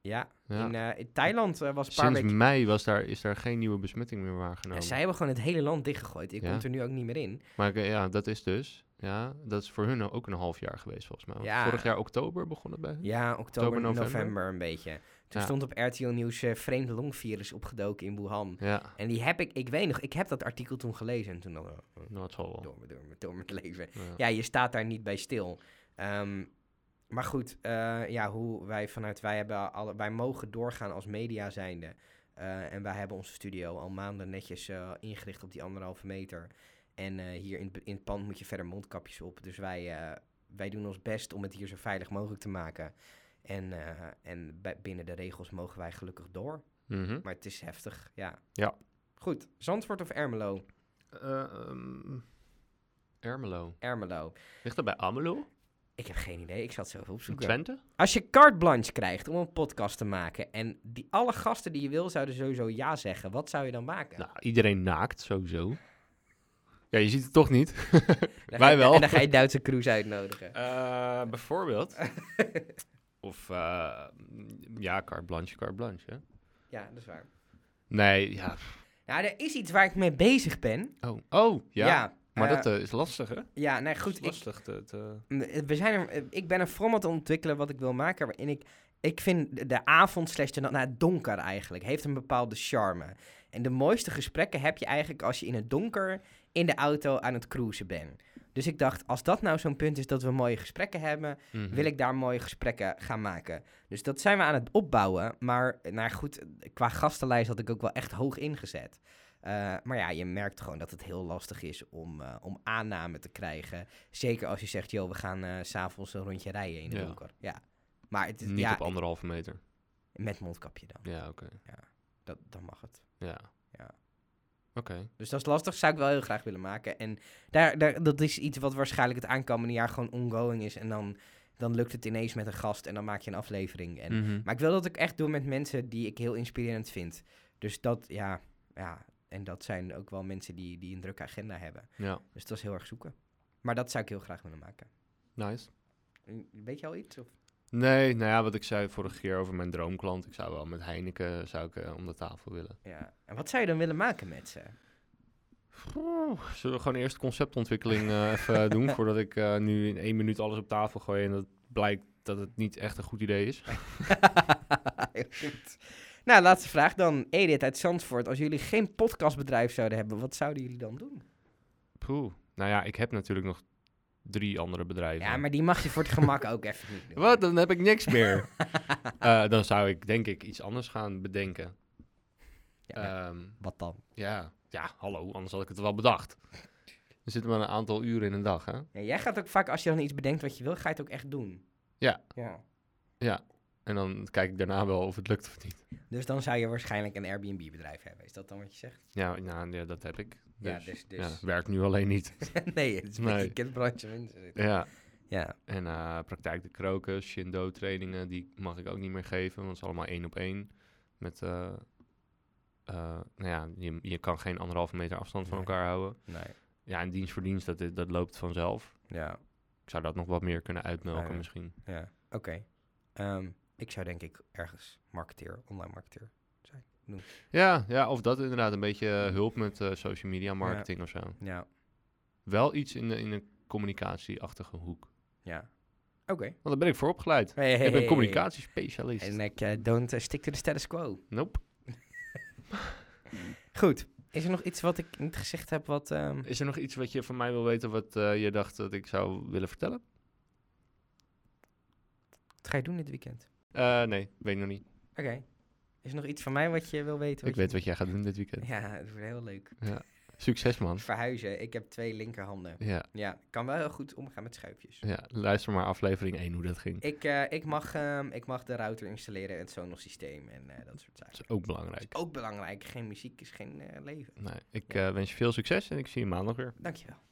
Speaker 1: ja,
Speaker 3: Ja.
Speaker 1: In, eh, in Thailand eh, was een paar
Speaker 3: Sinds
Speaker 1: weken...
Speaker 3: mei was daar, is daar geen nieuwe besmetting meer
Speaker 1: Ja,
Speaker 3: waargenomen.
Speaker 1: zij hebben gewoon het hele land dichtgegooid. Ik
Speaker 3: Ja.
Speaker 1: kom er nu ook niet meer in.
Speaker 3: Maar ik- ja, dat is dus... Ja, dat is voor hun nou ook een half jaar geweest, volgens mij. Want
Speaker 1: Ja.
Speaker 3: Vorig jaar oktober begon het bij hun.
Speaker 1: Hm? Ja, oktober,
Speaker 3: Oktober,
Speaker 1: november.
Speaker 3: november.
Speaker 1: een beetje. Toen
Speaker 3: Ja.
Speaker 1: stond op RTL Nieuws eh, vreemd longvirus opgedoken in Wuhan.
Speaker 3: Ja,
Speaker 1: En die heb ik, ik weet nog, ik heb dat artikel toen gelezen. En toen dacht ik, oh,
Speaker 3: nou, het zal wel.
Speaker 1: door, me- door, me- door met leven.
Speaker 3: Ja.
Speaker 1: Ja, je staat daar niet bij stil. Ehm, maar goed, eh, ja, hoe wij vanuit, wij, hebben alle, wij mogen doorgaan als media zijnde. Eh, en wij hebben onze studio al maanden netjes eh, ingericht op die anderhalve meter. En eh, hier in, het be- in het pand moet je verder mondkapjes op. Dus wij, eh, wij doen ons best om het hier zo veilig mogelijk te maken. En, eh, en bij- binnen de regels mogen wij gelukkig door.
Speaker 3: Mhm.
Speaker 1: Maar het is heftig, ja.
Speaker 3: Ja.
Speaker 1: Goed, Zandvoort of Ermelo?
Speaker 3: Eh, ehm, Ermelo.
Speaker 1: Ermelo.
Speaker 3: Ligt dat bij Amelo?
Speaker 1: Ik heb geen idee. Ik zal het zelf opzoeken.
Speaker 3: Twente?
Speaker 1: Als je carte blanche krijgt om een podcast te maken en die, alle gasten die je wil zouden sowieso ja zeggen, wat zou je dan maken?
Speaker 3: Nou, iedereen naakt, sowieso. Ja, je ziet het toch niet.
Speaker 1: Dan
Speaker 3: wij
Speaker 1: ga je-
Speaker 3: wel.
Speaker 1: En dan ga je Duitse crews uitnodigen.
Speaker 3: Eh, bijvoorbeeld. of, eh, ja, carte blanche, carte blanche, hè?
Speaker 1: Ja, dat is waar.
Speaker 3: Nee, ja.
Speaker 1: Ja, er is iets waar ik mee bezig ben.
Speaker 3: Oh, oh ja. Maar
Speaker 1: eh,
Speaker 3: dat eh, is lastig, hè?
Speaker 1: Ja, nee,
Speaker 3: Dat is
Speaker 1: goed. Ik,
Speaker 3: lastig te... te-
Speaker 1: Mm, We zijn er, eh, ik ben een format aan het ontwikkelen wat ik wil maken. Waarin ik, ik vind de- de avond slash de nacht, nou het donker eigenlijk, heeft een bepaalde charme. En de mooiste gesprekken heb je eigenlijk als je in het donker in de auto aan het cruisen bent. Dus ik dacht, als dat nou zo'n punt is dat we mooie gesprekken hebben,
Speaker 3: Mhm.
Speaker 1: wil ik daar mooie gesprekken gaan maken. Dus dat zijn we aan het opbouwen. Maar nou goed, qua gastenlijst had ik ook wel echt hoog ingezet. Eh, maar ja, je merkt gewoon dat het heel lastig is om, eh, om aanname te krijgen. Zeker als je zegt, joh, we gaan eh, s s'avonds een rondje rijden in de
Speaker 3: Ja.
Speaker 1: donker. Ja. Maar het, is-
Speaker 3: Niet
Speaker 1: ja,
Speaker 3: op anderhalve meter.
Speaker 1: met mondkapje dan.
Speaker 3: Ja, oké.
Speaker 1: Dat, dan mag het.
Speaker 3: Ja.
Speaker 1: Ja.
Speaker 3: Oké.
Speaker 1: Dus dat is lastig, zou ik wel heel graag willen maken. En daar, daar, dat is iets wat waarschijnlijk het aankomende jaar gewoon ongoing is. En dan, dan lukt het ineens met een gast en dan maak je een aflevering. En
Speaker 3: Mhm.
Speaker 1: Maar ik wil dat ik echt doe met mensen die ik heel inspirerend vind. Dus dat, ja, ja. En dat zijn ook wel mensen die, die een drukke agenda hebben.
Speaker 3: Ja,
Speaker 1: Dus dat is heel erg zoeken. Maar dat zou ik heel graag willen maken.
Speaker 3: nice.
Speaker 1: En Weet je al iets? Of?
Speaker 3: Nee, nou ja, wat ik zei vorige keer over mijn droomklant. Ik zou wel met Heineken zou ik, eh, om de tafel willen.
Speaker 1: Ja. En wat zou je dan willen maken met ze?
Speaker 3: Oeh, Zullen we gewoon eerst conceptontwikkeling eh, even doen... voordat ik eh, nu in één minuut alles op tafel gooi... en dat blijkt dat het niet echt een goed idee is?
Speaker 1: Heel goed. Nou, laatste vraag dan. Edith uit Zandvoort. Als jullie geen podcastbedrijf zouden hebben, wat zouden jullie dan doen?
Speaker 3: Poeh. Nou ja, ik heb natuurlijk nog drie andere bedrijven.
Speaker 1: Ja, maar die mag je voor het gemak ook even niet doen.
Speaker 3: Wat? Dan heb ik niks meer. Eh, dan zou ik denk ik iets anders gaan bedenken. Ehm,
Speaker 1: Ja, maar
Speaker 3: Ja,
Speaker 1: wat dan?
Speaker 3: ja. ja hallo, anders had ik het wel bedacht. Er zitten maar een aantal uren in een dag, hè?
Speaker 1: Ja, jij gaat ook vaak, als je dan iets bedenkt wat je wil, ga je het ook echt doen.
Speaker 3: Ja.
Speaker 1: Ja.
Speaker 3: En dan kijk ik daarna wel of het lukt of niet.
Speaker 1: Dus dan zou je waarschijnlijk een Airbnb-bedrijf hebben. Is dat dan wat je zegt?
Speaker 3: Ja, nou, ja dat heb ik.
Speaker 1: Ja,
Speaker 3: Dus,
Speaker 1: dus- dus-
Speaker 3: ja, werkt nu alleen niet.
Speaker 1: nee, het is een beetje
Speaker 3: Nee.
Speaker 1: een kindbrandje mensen. zitten.
Speaker 3: ja.
Speaker 1: Ja.
Speaker 3: En eh, praktijk de kroken, shindo trainingen, die mag ik ook niet meer geven, want het is allemaal één op één. Met, eh, eh, nou ja, je, je kan geen anderhalve meter afstand van
Speaker 1: Nee.
Speaker 3: elkaar houden.
Speaker 1: Nee.
Speaker 3: Ja, en dienst voor dienst, dat, dat loopt vanzelf.
Speaker 1: Ja.
Speaker 3: Ik zou dat nog wat meer kunnen uitmelken
Speaker 1: Ah, ja.
Speaker 3: misschien.
Speaker 1: ja. Oké. Ehm, ik zou denk ik ergens marketeer, online marketeer zijn. Noem.
Speaker 3: Ja, ja, of dat inderdaad, een beetje eh, hulp met eh, social media marketing of zo.
Speaker 1: Ja.
Speaker 3: Wel iets in, de, in een communicatieachtige hoek.
Speaker 1: Ja. Oké.
Speaker 3: Want daar ben ik voor opgeleid.
Speaker 1: Hey, hey,
Speaker 3: Ik ben
Speaker 1: hey.
Speaker 3: communicatiespecialist.
Speaker 1: En ik eh, don't eh, stick to the status quo.
Speaker 3: Nope.
Speaker 1: Goed. Is er nog iets wat ik niet gezegd heb wat... ehm,
Speaker 3: Is er nog iets wat je van mij wil weten wat eh, je dacht dat ik zou willen vertellen?
Speaker 1: Wat ga je doen dit weekend?
Speaker 3: Eh, nee, weet nog niet.
Speaker 1: Oké. Is er nog iets van mij wat je wil weten?
Speaker 3: Ik
Speaker 1: Wat
Speaker 3: weet wat jij gaat doen dit weekend.
Speaker 1: je- Ja, het wordt heel leuk.
Speaker 3: Succes, man.
Speaker 1: Verhuizen. Ik heb twee linkerhanden.
Speaker 3: Ja,
Speaker 1: Ja, ik kan wel heel goed omgaan met schuifjes.
Speaker 3: ja, luister maar aflevering 1 hoe dat ging.
Speaker 1: Ik, eh, ik, mag, ehm, ik mag de router installeren, het Sonos systeem en eh, dat soort zaken.
Speaker 3: Dat is ook belangrijk.
Speaker 1: Ook belangrijk, geen muziek is geen eh, leven.
Speaker 3: Nee, ik eh, wens je veel succes en ik zie je maandag weer.
Speaker 1: Dankjewel.